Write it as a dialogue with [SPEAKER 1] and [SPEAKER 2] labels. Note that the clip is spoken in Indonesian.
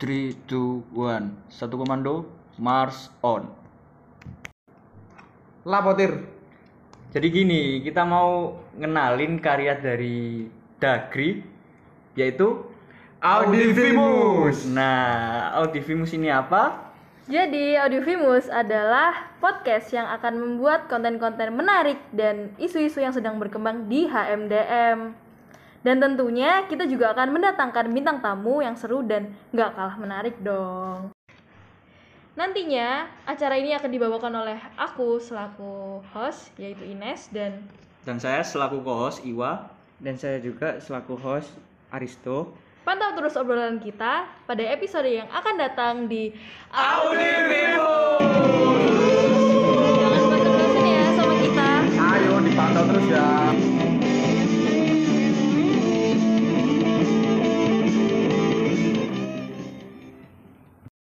[SPEAKER 1] 3, 2, 1 Satu komando Mars on
[SPEAKER 2] Lapotir.
[SPEAKER 1] Jadi gini, kita mau ngenalin karya dari Dagri Yaitu
[SPEAKER 2] Audifimus.
[SPEAKER 1] Nah, Audifimus ini apa?
[SPEAKER 3] Jadi, Audiovimus adalah podcast yang akan membuat konten-konten menarik dan isu-isu yang sedang berkembang di HMDM. Dan tentunya kita juga akan mendatangkan bintang tamu yang seru dan nggak kalah menarik dong. Nantinya, acara ini akan dibawakan oleh aku selaku host, yaitu Ines, dan
[SPEAKER 1] Dan saya selaku co-host Iwa
[SPEAKER 2] Dan saya juga selaku host Aristo.
[SPEAKER 3] pantau terus obrolan kita pada episode yang akan datang di
[SPEAKER 1] Audifimus
[SPEAKER 3] ya
[SPEAKER 1] ya.